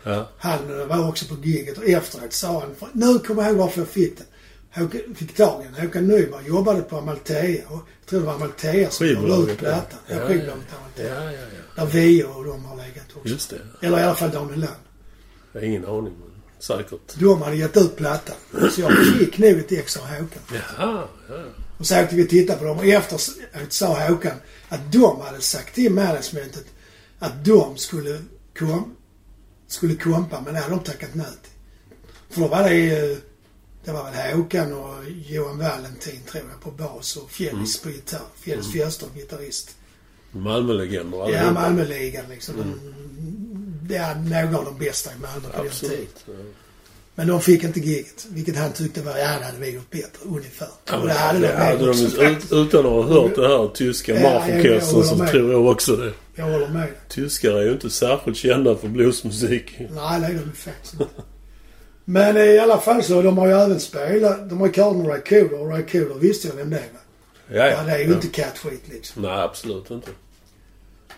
[SPEAKER 1] Ja.
[SPEAKER 2] Han eh, var också på giget och efteråt sa han, nu kommer jag ihåg varför jag fick den. Håkan, fick tag i den. Håkan Nyberg jobbade på Amalthea och jag tror det var Amalthea som la ut
[SPEAKER 1] Skivbolaget.
[SPEAKER 2] plattan. Ja,
[SPEAKER 1] ja,
[SPEAKER 2] skivbolaget
[SPEAKER 1] ja,
[SPEAKER 2] Amalthea.
[SPEAKER 1] ja, ja.
[SPEAKER 2] Där Vio och de har legat också.
[SPEAKER 1] Just det.
[SPEAKER 2] Eller i alla fall Daniel Land.
[SPEAKER 1] Jag har ingen aning, men säkert.
[SPEAKER 2] De hade gett ut plattan. Så jag fick nog ett ex av Håkan.
[SPEAKER 1] Jaha, ja.
[SPEAKER 2] Och så åkte vi och tittade på dem och efteråt sa Håkan att de hade sagt till managementet att de skulle, kom, skulle kompa men det hade de tackat nej till. För då var det eh, det var väl Håkan och Johan Valentin tror jag på bas och Fjällis på gitarr. Fjällis Fjällström gitarrist.
[SPEAKER 1] Malmölegender
[SPEAKER 2] Ja,
[SPEAKER 1] allihopa.
[SPEAKER 2] Malmöligan liksom. Mm. Det är några av de bästa i Malmö på den tiden.
[SPEAKER 1] Absolut. Ja.
[SPEAKER 2] Men de fick inte giget, vilket han tyckte var, ja det hade vi gjort bättre, ungefär.
[SPEAKER 1] Ja,
[SPEAKER 2] och det hade de med
[SPEAKER 1] de
[SPEAKER 2] också.
[SPEAKER 1] ju ut, utan att ha hört det här tyska
[SPEAKER 2] Ja, jag- jag
[SPEAKER 1] marschorkestern
[SPEAKER 2] håller
[SPEAKER 1] så
[SPEAKER 2] med.
[SPEAKER 1] tror jag också det.
[SPEAKER 2] Jag håller med.
[SPEAKER 1] Tyskar är ju inte särskilt kända för bluesmusik.
[SPEAKER 2] Nej, det är de faktiskt inte. Men i alla fall så, de har ju även spelat, de har ju kallat med Ray Cooler och Ray Cooler visste jag vem det var.
[SPEAKER 1] Ja,
[SPEAKER 2] Ja, det är ju inte kattskit liksom.
[SPEAKER 1] Nej, absolut inte.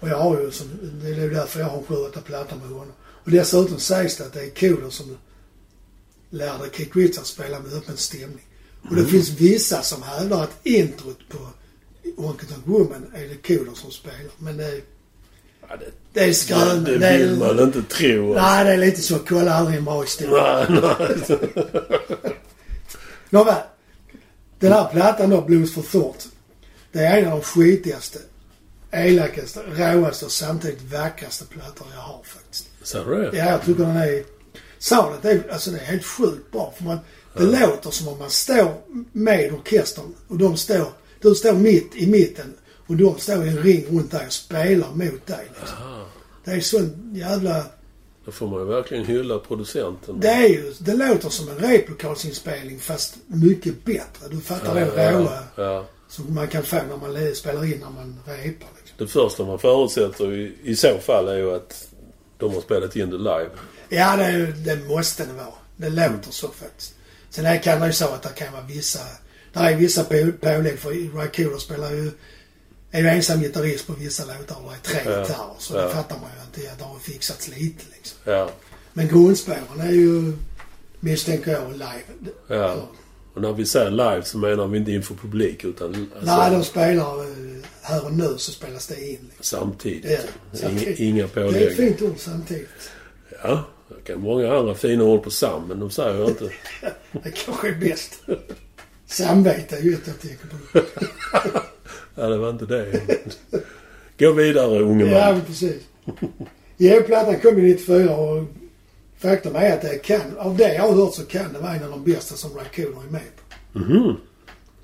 [SPEAKER 2] Och jag har ju, som, det är ju därför jag har sju, åtta plattor med honom. Och dessutom sägs det att det är Cooler som lärde Keith Richards spela med öppen stämning. Och
[SPEAKER 1] Mm.
[SPEAKER 2] det finns vissa som hävdar att introt på Honky Tonk Woman är det Cooler som spelar. Men det är,
[SPEAKER 1] Ja, det,
[SPEAKER 2] det är skrön.
[SPEAKER 1] det
[SPEAKER 2] det är-
[SPEAKER 1] vill man inte tro.
[SPEAKER 2] Nej, det är lite så. Kolla aldrig en bra historia.
[SPEAKER 1] Nej, nej.
[SPEAKER 2] Nåväl. Den här plattan då, Blues for Thought. Det är en av de skitigaste, elakaste, råaste och samtidigt vackraste plattor jag har faktiskt.
[SPEAKER 1] Sa du det?
[SPEAKER 2] Ja, jag tycker den är... Soundet är, alltså det är helt sjukt bra. För man, det låter som om man står med orkestern och de står... Du står mitt i mitten Och de står i en ring runt dig och spelar mot dig. Liksom.
[SPEAKER 1] Aha.
[SPEAKER 2] Det är sån jävla...
[SPEAKER 1] Då får man ju verkligen hylla producenten.
[SPEAKER 2] Det är ju... Det låter som en replokalsinspelning fast mycket bättre. Du fattar den råa
[SPEAKER 1] ja, ja.
[SPEAKER 2] som man kan få när man le- spelar in när man repar. Liksom.
[SPEAKER 1] Det första man förutsätter i, i så fall är ju att de har spelat in det live.
[SPEAKER 2] Ja, det, är ju- det måste det vara. Det låter så faktiskt. Sen här kan det ju så att det kan vara vissa... Det är vissa på- pålägg för Rakooler spelar ju... Är ju ensam gitarrist på vissa låtar och det är tre gitarrer. Så
[SPEAKER 1] ja.
[SPEAKER 2] det fattar man ju att det, det har fixats lite liksom.
[SPEAKER 1] Ja.
[SPEAKER 2] Men grundspåren är ju, misstänker jag, live.
[SPEAKER 1] ja. alltså- Och när vi säger live så menar vi inte inför publik utan alltså,
[SPEAKER 2] Nej, de spelar eh, här och nu så spelas det in. Liksom.
[SPEAKER 1] samtidigt.
[SPEAKER 2] Ja,
[SPEAKER 1] Inga,
[SPEAKER 2] samtidigt.
[SPEAKER 1] inga
[SPEAKER 2] Det är ett
[SPEAKER 1] pålägg.
[SPEAKER 2] fint ord samtidigt.
[SPEAKER 1] Ja, det kan många andra fina ord på sam, men de säger jag inte.
[SPEAKER 2] Det kanske är bäst. Samvete är ju ett jag tänker på.
[SPEAKER 1] Ja, det var inte det. Gå vidare unge
[SPEAKER 2] Ja,
[SPEAKER 1] man.
[SPEAKER 2] men precis. Ja, plattan kom ju 94 och faktum är att det kan, av det jag har hört så kan det vara en av de bästa som Raccooner är med på.
[SPEAKER 1] Mhm.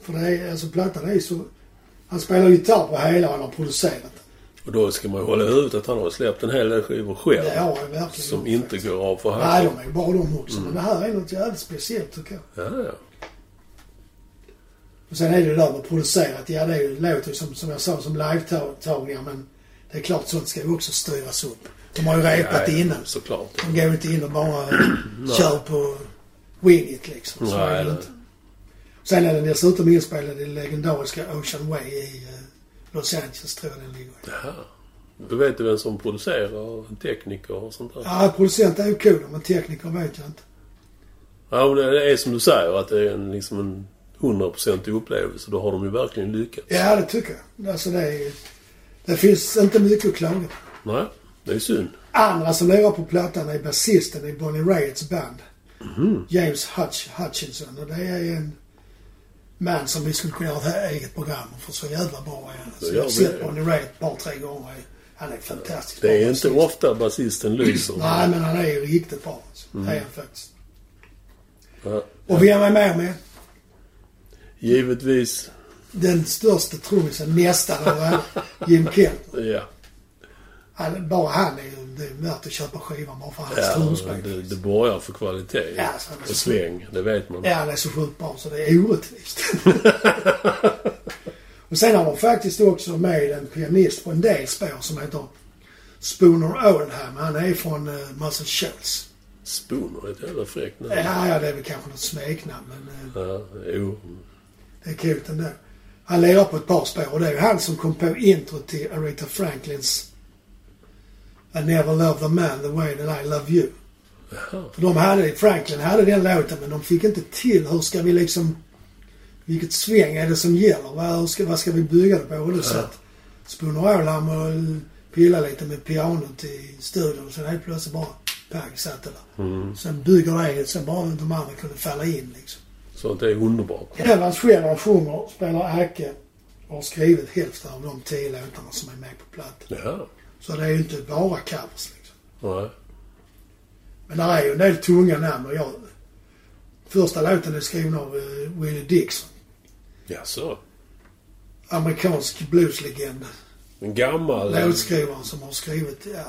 [SPEAKER 2] För det är, alltså plattan är ju så... Han spelar gitarr på hela och han har producerat den.
[SPEAKER 1] Och då ska man ju hålla i huvudet att han har släppt en hel del skivor själv.
[SPEAKER 2] Det har han verkligen
[SPEAKER 1] Som
[SPEAKER 2] gjort,
[SPEAKER 1] inte
[SPEAKER 2] faktiskt.
[SPEAKER 1] går Mm. av för
[SPEAKER 2] Nej,
[SPEAKER 1] hand.
[SPEAKER 2] de är ju bra de också. Men det här är något jävligt speciellt tycker jag.
[SPEAKER 1] Ja, ja.
[SPEAKER 2] Och sen är det ju där med producerat. Ja, det är ju- låter ju som, som jag sa som live-tagningar men det är klart sånt ska ju också styras upp. De har ju repat
[SPEAKER 1] Ja, ja,
[SPEAKER 2] innan.
[SPEAKER 1] Såklart.
[SPEAKER 2] De går ju inte in och bara kör på wing it liksom. Så
[SPEAKER 1] Nej,
[SPEAKER 2] är det
[SPEAKER 1] nej.
[SPEAKER 2] inte. Sen är den dessutom inspelad i legendariska Ocean Way i eh, Los Angeles tror jag den ligger i.
[SPEAKER 1] Ja. Du vet ju vem som producerar, och tekniker och sånt där.
[SPEAKER 2] Ja, producent är ju kul men tekniker vet jag inte.
[SPEAKER 1] Ja, och det är som du säger att det är en, liksom en hundraprocentig upplevelse. Då har de ju verkligen lyckats.
[SPEAKER 2] Ja, det tycker jag. Alltså det är... Det finns inte mycket att klaga på.
[SPEAKER 1] Nej, det är synd.
[SPEAKER 2] Andra som lirar på plattan är basisten i Bonnie Raids band.
[SPEAKER 1] Mhm.
[SPEAKER 2] James Hutch, Hutchinson. Och det är en man som vi skulle kunna ha ett eget program om, för så jävla bra är han.
[SPEAKER 1] gör
[SPEAKER 2] Så jag har
[SPEAKER 1] vi
[SPEAKER 2] sett
[SPEAKER 1] det.
[SPEAKER 2] Bonnie Raid ett par, tre gånger. Han är fantastisk bra
[SPEAKER 1] Det är
[SPEAKER 2] basist.
[SPEAKER 1] inte ofta basisten lyser.
[SPEAKER 2] Nej, men han är ju riktigt bra. Alltså.
[SPEAKER 1] Mm.
[SPEAKER 2] Det är han faktiskt.
[SPEAKER 1] Ja.
[SPEAKER 2] Och vem är med med?
[SPEAKER 1] Givetvis,
[SPEAKER 2] Den största trummisen, nästan, av alla, Jim Kent.
[SPEAKER 1] ja.
[SPEAKER 2] Han, bara han är ju det är värt att köpa skivan bara för hans
[SPEAKER 1] ja
[SPEAKER 2] trumspel.
[SPEAKER 1] det, det borgar för kvalitet
[SPEAKER 2] Ja, så är det
[SPEAKER 1] och sväng. Det vet man.
[SPEAKER 2] Ja, han är så sjukt bra så det är orättvist. och sen har de faktiskt också med en pianist på en del spår som heter Spooner Oldham. Han är från uh, Muscle Shoals.
[SPEAKER 1] Spooner, ett jävla fräckt namn.
[SPEAKER 2] Ja, ja, det är väl kanske något smeknamn men eh,
[SPEAKER 1] Ja, jo.
[SPEAKER 2] det är coolt ändå. Han lirar på ett par spår och det är ju han som kom på intro till Aretha Franklins I never loved a man the way that I love you.
[SPEAKER 1] Jaha.
[SPEAKER 2] För de hade, Franklin hade den låten men de fick inte till hur ska vi liksom... Vilket sväng är det som gäller? Vad hur ska, vad ska vi bygga det på? Och då satt Spooner Ålam och pillade lite med pianot i studion. Sen helt plötsligt bara pang satt det där. Sen bygger det eget. Sen bara de andra kunde falla in liksom.
[SPEAKER 1] Sånt är underbart.
[SPEAKER 2] Evans själv han sjunger, spelar Acke och har skrivit hälften av de tio låtarna som är med på plattan.
[SPEAKER 1] Ja.
[SPEAKER 2] Så det är ju inte bara covers liksom.
[SPEAKER 1] Nej.
[SPEAKER 2] Men där är ju en del tunga namn och jag... Första låten är skriven av eh, Willie Dixon.
[SPEAKER 1] Ja, så.
[SPEAKER 2] Amerikansk blueslegend.
[SPEAKER 1] En gammal...
[SPEAKER 2] Låtskrivaren som har skrivit, ja...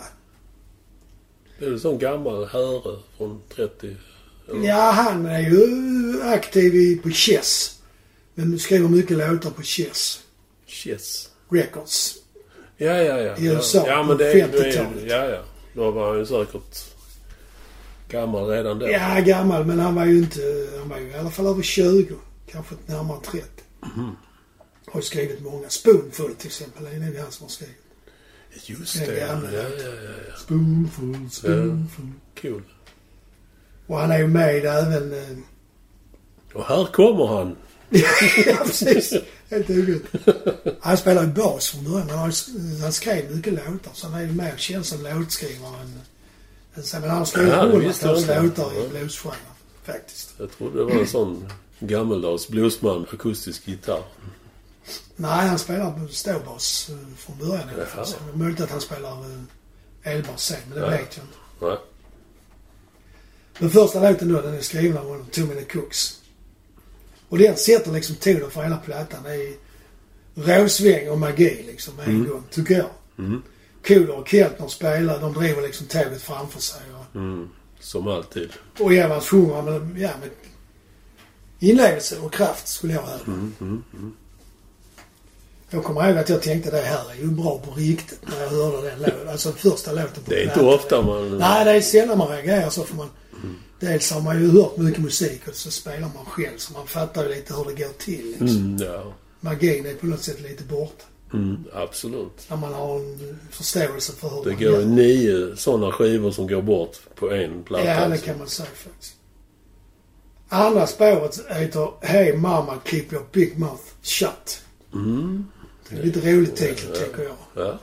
[SPEAKER 1] Det är en sån gammal herre från 30...
[SPEAKER 2] Ja, han är ju eh, aktiv i, på Chess. Men skriver mycket låtar på Chess
[SPEAKER 1] Chess.
[SPEAKER 2] Records.
[SPEAKER 1] Ja, ja, ja.
[SPEAKER 2] I USA,
[SPEAKER 1] ja,
[SPEAKER 2] på
[SPEAKER 1] men det är, nu är
[SPEAKER 2] 50-talet.
[SPEAKER 1] Ja, ja. Då var han ju säkert gammal redan då.
[SPEAKER 2] Ja, gammal, men han var ju inte... Han var ju i alla fall över 20. Kanske närmare 30.
[SPEAKER 1] Mhm.
[SPEAKER 2] Har ju skrivit många. Spoonful till exempel, det är nog han som har skrivit.
[SPEAKER 1] Just
[SPEAKER 2] Ja,
[SPEAKER 1] det. Ja,
[SPEAKER 2] gammal.
[SPEAKER 1] ja, ja, ja.
[SPEAKER 2] Spoonful, spoonful.
[SPEAKER 1] Cool.
[SPEAKER 2] Och han är ju med även... eh,
[SPEAKER 1] Och här kommer han.
[SPEAKER 2] ja, precis. Helt ogut. Han spelar ju bas från början. Han, har, ju- han skrev mycket låtar så han är ju mer känd som låtskrivare än... än så. Men han har skrivit
[SPEAKER 1] Ja, det visste jag
[SPEAKER 2] hundratals
[SPEAKER 1] inte.
[SPEAKER 2] låtar i
[SPEAKER 1] Ja.
[SPEAKER 2] bluesgenren faktiskt.
[SPEAKER 1] Jag trodde det var en sån gammeldags bluesman, akustisk gitarr.
[SPEAKER 2] Nej, han spelar ståbas eh, från början. i alla fall.
[SPEAKER 1] Jaha.
[SPEAKER 2] Så det är möjligt att han spelar eh, elbas sen, men det
[SPEAKER 1] Ja.
[SPEAKER 2] vet jag inte.
[SPEAKER 1] Nej.
[SPEAKER 2] Den första låten då, den är skriven av honom, Too Many Cooks. Och den sätter liksom tonen för hela plattan. Det är råsväng och magi liksom med en gång, tycker jag.
[SPEAKER 1] Mm.
[SPEAKER 2] Kohler och Keltner spelar, de driver liksom tåget framför sig. Och,
[SPEAKER 1] Mm. Som alltid.
[SPEAKER 2] och Evans sjunger med, ja, med inlevelse och kraft skulle jag hävda.
[SPEAKER 1] Mm, mm, mm.
[SPEAKER 2] Jag kommer ihåg att jag tänkte det här är ju bra på riktigt när jag hörde den låten. Alltså första låten på
[SPEAKER 1] Det är inte Mm.
[SPEAKER 2] plattan.
[SPEAKER 1] ofta man...
[SPEAKER 2] Nej, det är sällan man reagerar så för man... Dels har man ju hört mycket musik och så spelar man själv så man fattar ju lite hur det går till. Liksom.
[SPEAKER 1] Mm, ja.
[SPEAKER 2] Magin är på något sätt lite borta.
[SPEAKER 1] Mm, absolut.
[SPEAKER 2] När man har en förståelse för hur
[SPEAKER 1] Det
[SPEAKER 2] man
[SPEAKER 1] går ju nio sådana skivor som går bort på en platta.
[SPEAKER 2] Ja, det
[SPEAKER 1] alltså.
[SPEAKER 2] kan man säga faktiskt. Andra spåret heter Hey Mama Keep Your Big Mouth Shut.
[SPEAKER 1] Mm.
[SPEAKER 2] Det är lite roligt titel, tycker jag.
[SPEAKER 1] Ja.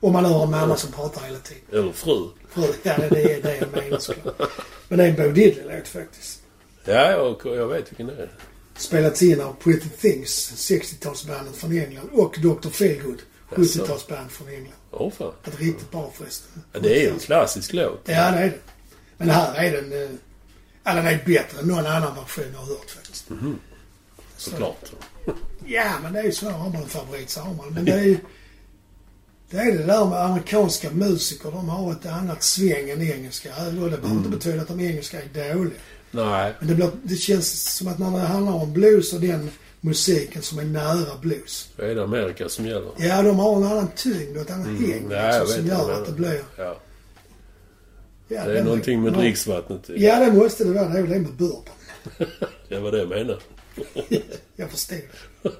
[SPEAKER 2] Om man nu har en mamma som pratar hela tiden.
[SPEAKER 1] Eller fru.
[SPEAKER 2] För ja, det är det jag menar såklart. Men det är en Bo Diddley-låt faktiskt.
[SPEAKER 1] Ja, jag, jag vet vilken det är.
[SPEAKER 2] Spelats in av Pretty Things, 60-talsbandet från England, och Dr. Feelgood, 70-talsband från England.
[SPEAKER 1] Åh fan.
[SPEAKER 2] Ett riktigt bra förresten.
[SPEAKER 1] Ja, det är ju en klassisk låt.
[SPEAKER 2] Ja, det är det. Men här är den... eh, Ja, den är bättre än någon annan version jag har hört faktiskt.
[SPEAKER 1] Såklart.
[SPEAKER 2] Ja, men det är ju så. Har man en favorit så har man. Men det är ju... Det är det där med amerikanska musiker. De har ett annat sväng än engelska. Det behöver
[SPEAKER 1] Mm.
[SPEAKER 2] inte betyda att de engelska är dåliga.
[SPEAKER 1] Nej.
[SPEAKER 2] Men det, blir, det känns som att när det handlar om blues och den musiken som är nära blues.
[SPEAKER 1] Det är det Amerika som gäller.
[SPEAKER 2] Ja, de har en annan tyngd och ett annat häng
[SPEAKER 1] Nej, Mm, jag
[SPEAKER 2] liksom,
[SPEAKER 1] vet
[SPEAKER 2] som
[SPEAKER 1] inte
[SPEAKER 2] gör
[SPEAKER 1] vad
[SPEAKER 2] att det
[SPEAKER 1] det-
[SPEAKER 2] blir...
[SPEAKER 1] Ja.
[SPEAKER 2] Ja,
[SPEAKER 1] Det är någonting med
[SPEAKER 2] någon-
[SPEAKER 1] dricksvattnet.
[SPEAKER 2] Ja, det måste det vara. Det är väl det med bourbon.
[SPEAKER 1] Det var det jag menade.
[SPEAKER 2] Jag förstod det.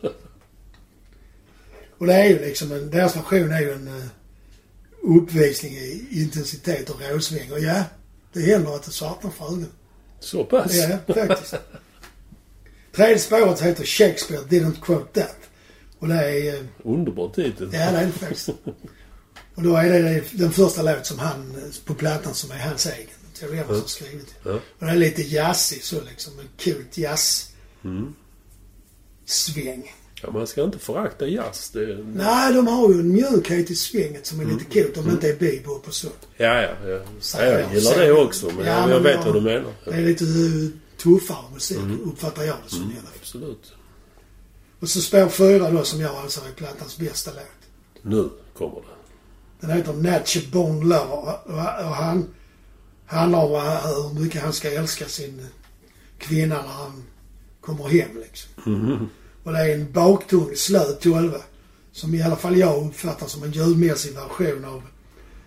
[SPEAKER 2] Och det är ju liksom en, deras version är ju en eh, uppvisning i intensitet och råsväng. Och ja, det händer att det svartnar för ögonen.
[SPEAKER 1] Så pass?
[SPEAKER 2] Ja, faktiskt. Tredje spåret heter Shakespeare didn't quote that. Och det är... eh,
[SPEAKER 1] Underbar titel.
[SPEAKER 2] Ja, det är det faktiskt. Och då är det den första låt som han, eh, på plattan som är hans egen. Theo Evans har skrivit
[SPEAKER 1] Ja.
[SPEAKER 2] Och den är lite jazzig så liksom. En kul jazz... Sväng.
[SPEAKER 1] Ja, man ska inte förakta jazz. Det...
[SPEAKER 2] Nej, de har ju en mjukhet i svänget som är lite coolt om det inte är bebop och så.
[SPEAKER 1] Ja, ja, ja.
[SPEAKER 2] Så-
[SPEAKER 1] Mm. ja. Jag gillar
[SPEAKER 2] så-
[SPEAKER 1] det också, men
[SPEAKER 2] Ja,
[SPEAKER 1] jag,
[SPEAKER 2] men
[SPEAKER 1] jag vet
[SPEAKER 2] ja.
[SPEAKER 1] vad du menar. Mm. Ja,
[SPEAKER 2] Det är lite eh, tuffare musik, uppfattar jag det som. i alla fall.
[SPEAKER 1] Absolut.
[SPEAKER 2] Och så spår fyra då, som jag anser är plattans bästa låt.
[SPEAKER 1] Nu kommer det.
[SPEAKER 2] Den heter Natche Born Lover och, och han handlar om vad- hur mycket han ska älska sin kvinna när han kommer hem liksom.
[SPEAKER 1] Mm-hmm.
[SPEAKER 2] Och det är en baktung slö tolva som i alla fall jag uppfattar som en ljudmässig version av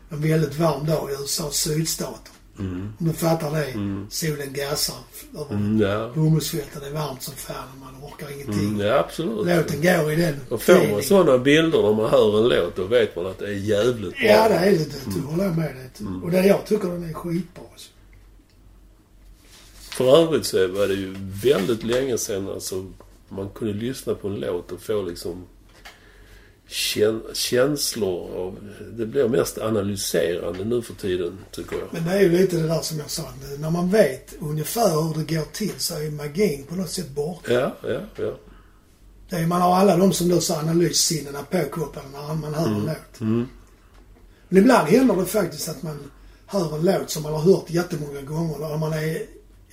[SPEAKER 2] en väldigt varm dag i USAs sydstater.
[SPEAKER 1] Mm-hmm.
[SPEAKER 2] Om du fattar det. Solen gassar över
[SPEAKER 1] Mm, ja.
[SPEAKER 2] bomullsfälten. Det är varmt som fan och man orkar ingenting.
[SPEAKER 1] Mm, ja, absolut.
[SPEAKER 2] Låten går i den
[SPEAKER 1] Och får
[SPEAKER 2] feelingen.
[SPEAKER 1] man sådana bilder när man hör en låt, då vet man att det är jävligt bra.
[SPEAKER 2] Ja, det är lite dött.
[SPEAKER 1] Mm.
[SPEAKER 2] Jag håller med dig. Och det, jag tycker den är skitbra. Alltså.
[SPEAKER 1] För övrigt så var det ju väldigt länge sedan alltså, man kunde lyssna på en låt och få liksom kän känslor av... Det blir mest analyserande nu för tiden, tycker jag.
[SPEAKER 2] Men det är ju lite det där som jag sa. att När man vet ungefär hur det går till så är ju magin på något sätt borta.
[SPEAKER 1] Ja, ja, ja.
[SPEAKER 2] Det är, man har alla de som du sa analyssinnena påkopplade när man hör
[SPEAKER 1] Mm.
[SPEAKER 2] en låt. Men ibland händer det faktiskt att man hör en låt som man har hört jättemånga gånger och man är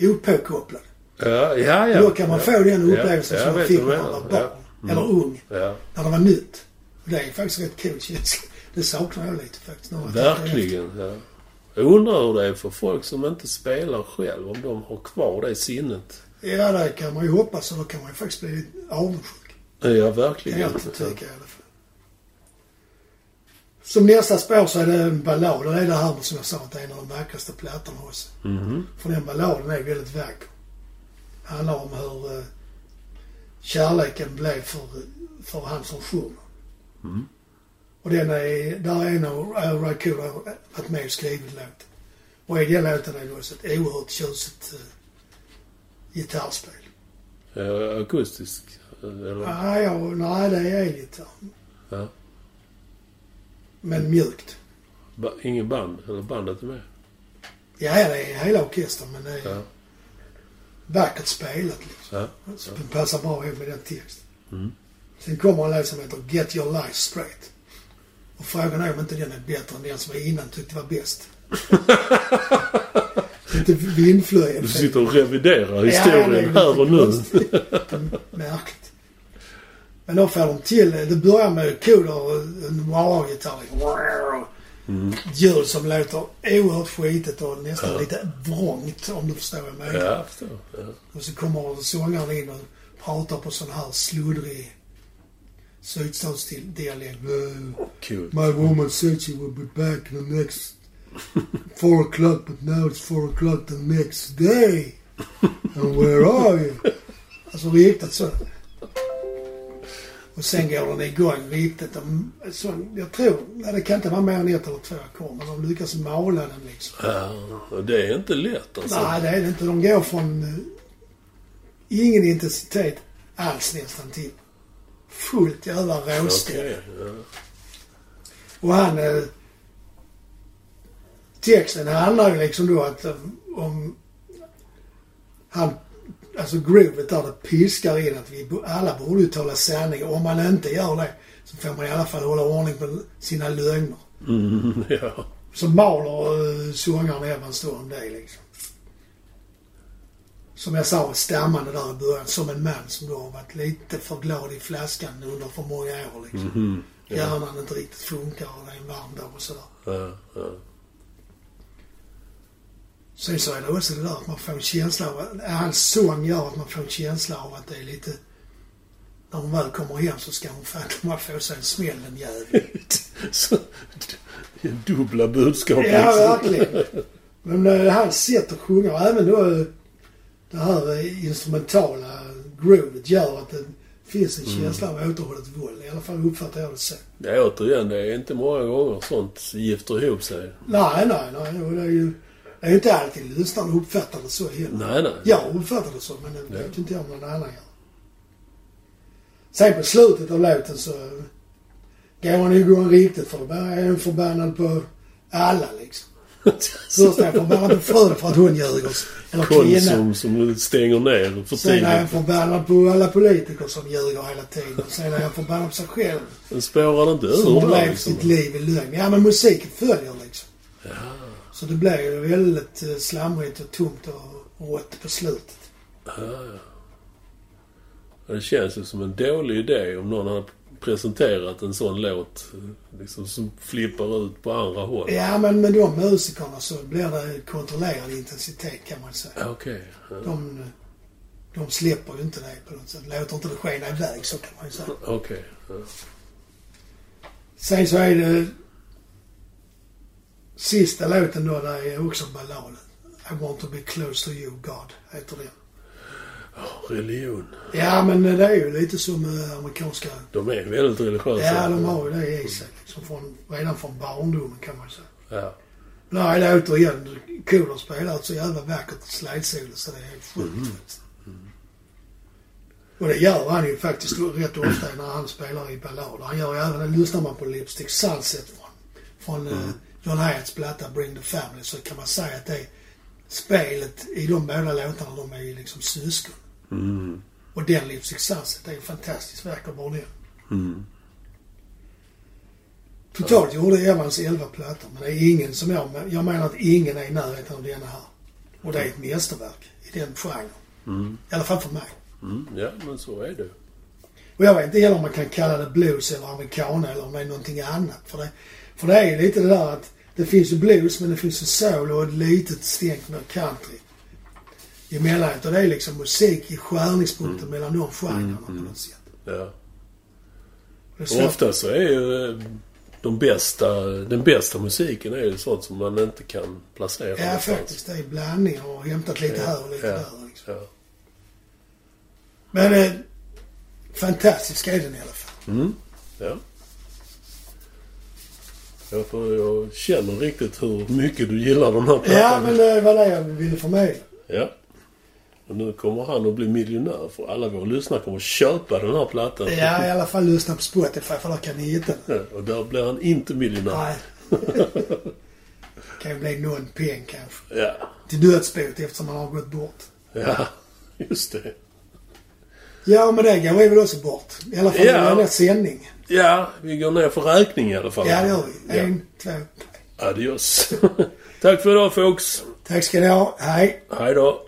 [SPEAKER 2] opåkopplad.
[SPEAKER 1] Ja, ja, ja.
[SPEAKER 2] Då kan man
[SPEAKER 1] ja.
[SPEAKER 2] få den upplevelsen
[SPEAKER 1] Ja, jag
[SPEAKER 2] som man
[SPEAKER 1] vet
[SPEAKER 2] fick när
[SPEAKER 1] vad du
[SPEAKER 2] man var
[SPEAKER 1] menar.
[SPEAKER 2] barn.
[SPEAKER 1] Ja. Mm.
[SPEAKER 2] Eller ung.
[SPEAKER 1] Ja,
[SPEAKER 2] När det var nytt. Och det är faktiskt rätt kul känsla. Det saknar jag lite faktiskt. när jag tänker efter.
[SPEAKER 1] verkligen. Ja. Jag undrar hur det är för folk som inte spelar själv, om de har kvar det sinnet.
[SPEAKER 2] Ja, det kan man ju hoppas och då kan man ju faktiskt bli lite avundsjuk.
[SPEAKER 1] Ja,
[SPEAKER 2] Kan
[SPEAKER 1] verkligen.
[SPEAKER 2] jag inte tycka i alla fall. Som nästa spår så är det en ballad och det är det här med, som jag sa att det är en av de vackraste plattorna hos.
[SPEAKER 1] Mhm.
[SPEAKER 2] För den balladen är väldigt vacker. Handlar om hur eh, kärleken blev för, för han som sjunger.
[SPEAKER 1] Mm.
[SPEAKER 2] Och den är, där är en av Al Raccoon har varit med och skrivit låten. Och i den låten är det också ett oerhört tjusigt eh, gitarrspel.
[SPEAKER 1] Ja, Eh, akustisk. eh, Eller?
[SPEAKER 2] Nej, jag, nej det är elgitarr.
[SPEAKER 1] Ja.
[SPEAKER 2] Men mjukt.
[SPEAKER 1] Ba ingen band? Eller bandet är med?
[SPEAKER 2] Ja, ja, det är hela orkestern men det är
[SPEAKER 1] Ja.
[SPEAKER 2] vackert spelat liksom.
[SPEAKER 1] Ja.
[SPEAKER 2] Så det passar bra ihop med den texten.
[SPEAKER 1] Mm.
[SPEAKER 2] Sen kommer en låt som heter Get Your Life Straight. Och frågan är om inte den är bättre än den som jag innan tyckte var bäst. Lite vindflöjel.
[SPEAKER 1] Du sitter och reviderar
[SPEAKER 2] Ja, det är
[SPEAKER 1] historien
[SPEAKER 2] lite
[SPEAKER 1] här och nu.
[SPEAKER 2] konstigt. Märkligt. Men då får de till det. börjar med koder och en wah-gitarr. liksom. Ljud som låter oerhört skitigt och nästan
[SPEAKER 1] Mm. Ja.
[SPEAKER 2] lite vrångt om du förstår vad jag menar.
[SPEAKER 1] Ja, jag förstår. Ja.
[SPEAKER 2] Och så kommer sångaren in och pratar på sån här sluddrig sydstatsdialekt.
[SPEAKER 1] Kul.
[SPEAKER 2] My woman said she would be back the next four o'clock, but now it's four o'clock the next day. And where are you? Alltså riktigt så. Och sen går den igång riktigt. De- Så, jag tror, nej, det kan inte vara mer än ett eller två ackord, men de lyckas mala den liksom.
[SPEAKER 1] Ja, och det är inte lätt alltså.
[SPEAKER 2] Nej, det är det inte. De går från eh, ingen intensitet alls nästan till fullt jävla råstöd.
[SPEAKER 1] Okej, ja.
[SPEAKER 2] Och han... Eh, texten handlar ju liksom då att eh, om... Han... Alltså groovet där det piskar in att vi bo- alla borde ju tala sanning. Och om man inte gör det så får man i alla fall hålla ordning på sina lögner.
[SPEAKER 1] Mm, ja.
[SPEAKER 2] Så maler eh, sångaren Evans då om det liksom. Som jag sa, stammande där i början. Som en man som då har varit lite för glad i flaskan under för många år liksom.
[SPEAKER 1] Mm,
[SPEAKER 2] Hjärnan inte riktigt funkar och det är en varm dag och sådär.
[SPEAKER 1] ja, ja.
[SPEAKER 2] Sen så är det också det där att man får en känsla av att, hans sång gör att man får en känsla av att det är lite, när hon väl kommer hem så ska hon fan komma få sig en smäll en jävel.
[SPEAKER 1] Så, d- dubbla budskap
[SPEAKER 2] Ja,
[SPEAKER 1] också.
[SPEAKER 2] verkligen. Men eh, hans sätt att sjunga och även då eh, det här eh, instrumentala groovet gör att det finns en känsla av återhållet våld. I alla fall uppfattar jag det så.
[SPEAKER 1] Det är återigen, det är inte många gånger sånt gifter ihop sig.
[SPEAKER 2] Nej, nej, nej. och Det är ju det är ju inte alltid lyssnaren uppfattar det så heller.
[SPEAKER 1] Nej, nej.
[SPEAKER 2] Jag uppfattar det så, men det
[SPEAKER 1] Ja.
[SPEAKER 2] vet inte jag om någon annan gör. Sen på slutet av låten så eh, går han igång riktigt för då är han förbannad på alla liksom. Först är han förbannad på frun för att hon ljuger. Eller kvinnan.
[SPEAKER 1] Konsum som stänger ner för
[SPEAKER 2] Sen är han
[SPEAKER 1] tidigt.
[SPEAKER 2] förbannad på alla politiker som ljuger hela tiden. Sen är han förbannad på sig själv
[SPEAKER 1] Den spårar inte
[SPEAKER 2] som
[SPEAKER 1] ur där
[SPEAKER 2] drev
[SPEAKER 1] liksom.
[SPEAKER 2] sitt liv i lögn. Ja, men musiken följer liksom. Så det blev ju väldigt eh, slamrigt och tomt och rått på slutet.
[SPEAKER 1] Ja, Det känns ju som en dålig idé om någon har presenterat en sån låt eh, liksom, som flippar ut på andra håll.
[SPEAKER 2] Ja, men med de musikerna så blir det kontrollerad intensitet kan man säga.
[SPEAKER 1] Ja, Ah, Okej. Ja,
[SPEAKER 2] De, de släpper ju inte det på något sätt. Låter inte det skena iväg så kan man ju säga.
[SPEAKER 1] Okej. Ja.
[SPEAKER 2] Sen så är det sista låten då, där är också balladen. I want to be close to you God, heter den.
[SPEAKER 1] Religion.
[SPEAKER 2] Ja, men det är ju lite som eh, amerikanska...
[SPEAKER 1] De är väldigt religiösa.
[SPEAKER 2] Ja, de har ju det i sig. Liksom från, redan från barndomen kan man säga.
[SPEAKER 1] Ja.
[SPEAKER 2] Nej, det är återigen kul att spela ett så jävla vackert slidesolo så det är helt sjukt faktiskt. Och det gör han ju faktiskt rätt ofta när han spelar i ballader. Han gör ju även, det lyssnar man på Lipstick Sunset från, från eh, John Hyatts platta Bring the Family så kan man säga att det spelet i de båda låtarna de är ju liksom syskon.
[SPEAKER 1] Mm.
[SPEAKER 2] Och den Lipstick Sunset är ju fantastiskt vacker bara den.
[SPEAKER 1] Mm.
[SPEAKER 2] Totalt gjorde Evans 11 plattor, men det är ingen som jag... Jag menar att ingen är i närheten av denna här. Och det är ett mästerverk i den genren.
[SPEAKER 1] Mm.
[SPEAKER 2] I alla fall för mig.
[SPEAKER 1] Mm. Ja, men så är det.
[SPEAKER 2] Och jag vet inte heller om man kan kalla det blues eller americana eller om det är någonting annat. För det, för det är ju lite det där att det finns ju blues men det finns ju soul och ett litet stänk med country. Emellan. Och det är liksom musik i
[SPEAKER 1] Mm.
[SPEAKER 2] skärningspunkten mellan de genrerna på något sätt.
[SPEAKER 1] Ja.
[SPEAKER 2] Det är
[SPEAKER 1] Och
[SPEAKER 2] svårt-
[SPEAKER 1] ofta så är ju eh, de bästa, den bästa musiken är ju sånt som man inte kan placera.
[SPEAKER 2] Ja,
[SPEAKER 1] någonstans.
[SPEAKER 2] faktiskt. Det är blandningar och hämtat lite här och lite
[SPEAKER 1] Ja,
[SPEAKER 2] där. Liksom.
[SPEAKER 1] ja.
[SPEAKER 2] Men eh, fantastisk är den i alla fall.
[SPEAKER 1] Mm. ja. Jag, får, jag känner riktigt hur mycket du gillar den här plattan.
[SPEAKER 2] Ja, men det var det jag ville förmedla.
[SPEAKER 1] Ja. Och nu kommer han att bli miljonär för alla våra lyssnare kommer att köpa den här plattan.
[SPEAKER 2] Ja, i alla fall lyssna på Spotify för där kan ni hitta den.
[SPEAKER 1] Och där blir han inte miljonär.
[SPEAKER 2] Nej. kan ju bli någon peng kanske.
[SPEAKER 1] Ja.
[SPEAKER 2] Till dödsbot eftersom han har gått bort.
[SPEAKER 1] ja, just det.
[SPEAKER 2] Ja, men det går ju väl också bort. I alla fall i
[SPEAKER 1] Ja.
[SPEAKER 2] denna sändning.
[SPEAKER 1] Ja, vi går ner för räkning i alla fall.
[SPEAKER 2] Ja, det gör vi.
[SPEAKER 1] Ja.
[SPEAKER 2] En, två, tre.
[SPEAKER 1] Adios. Tack för idag folks.
[SPEAKER 2] Tack ska ni ha. Hej.
[SPEAKER 1] Hej då.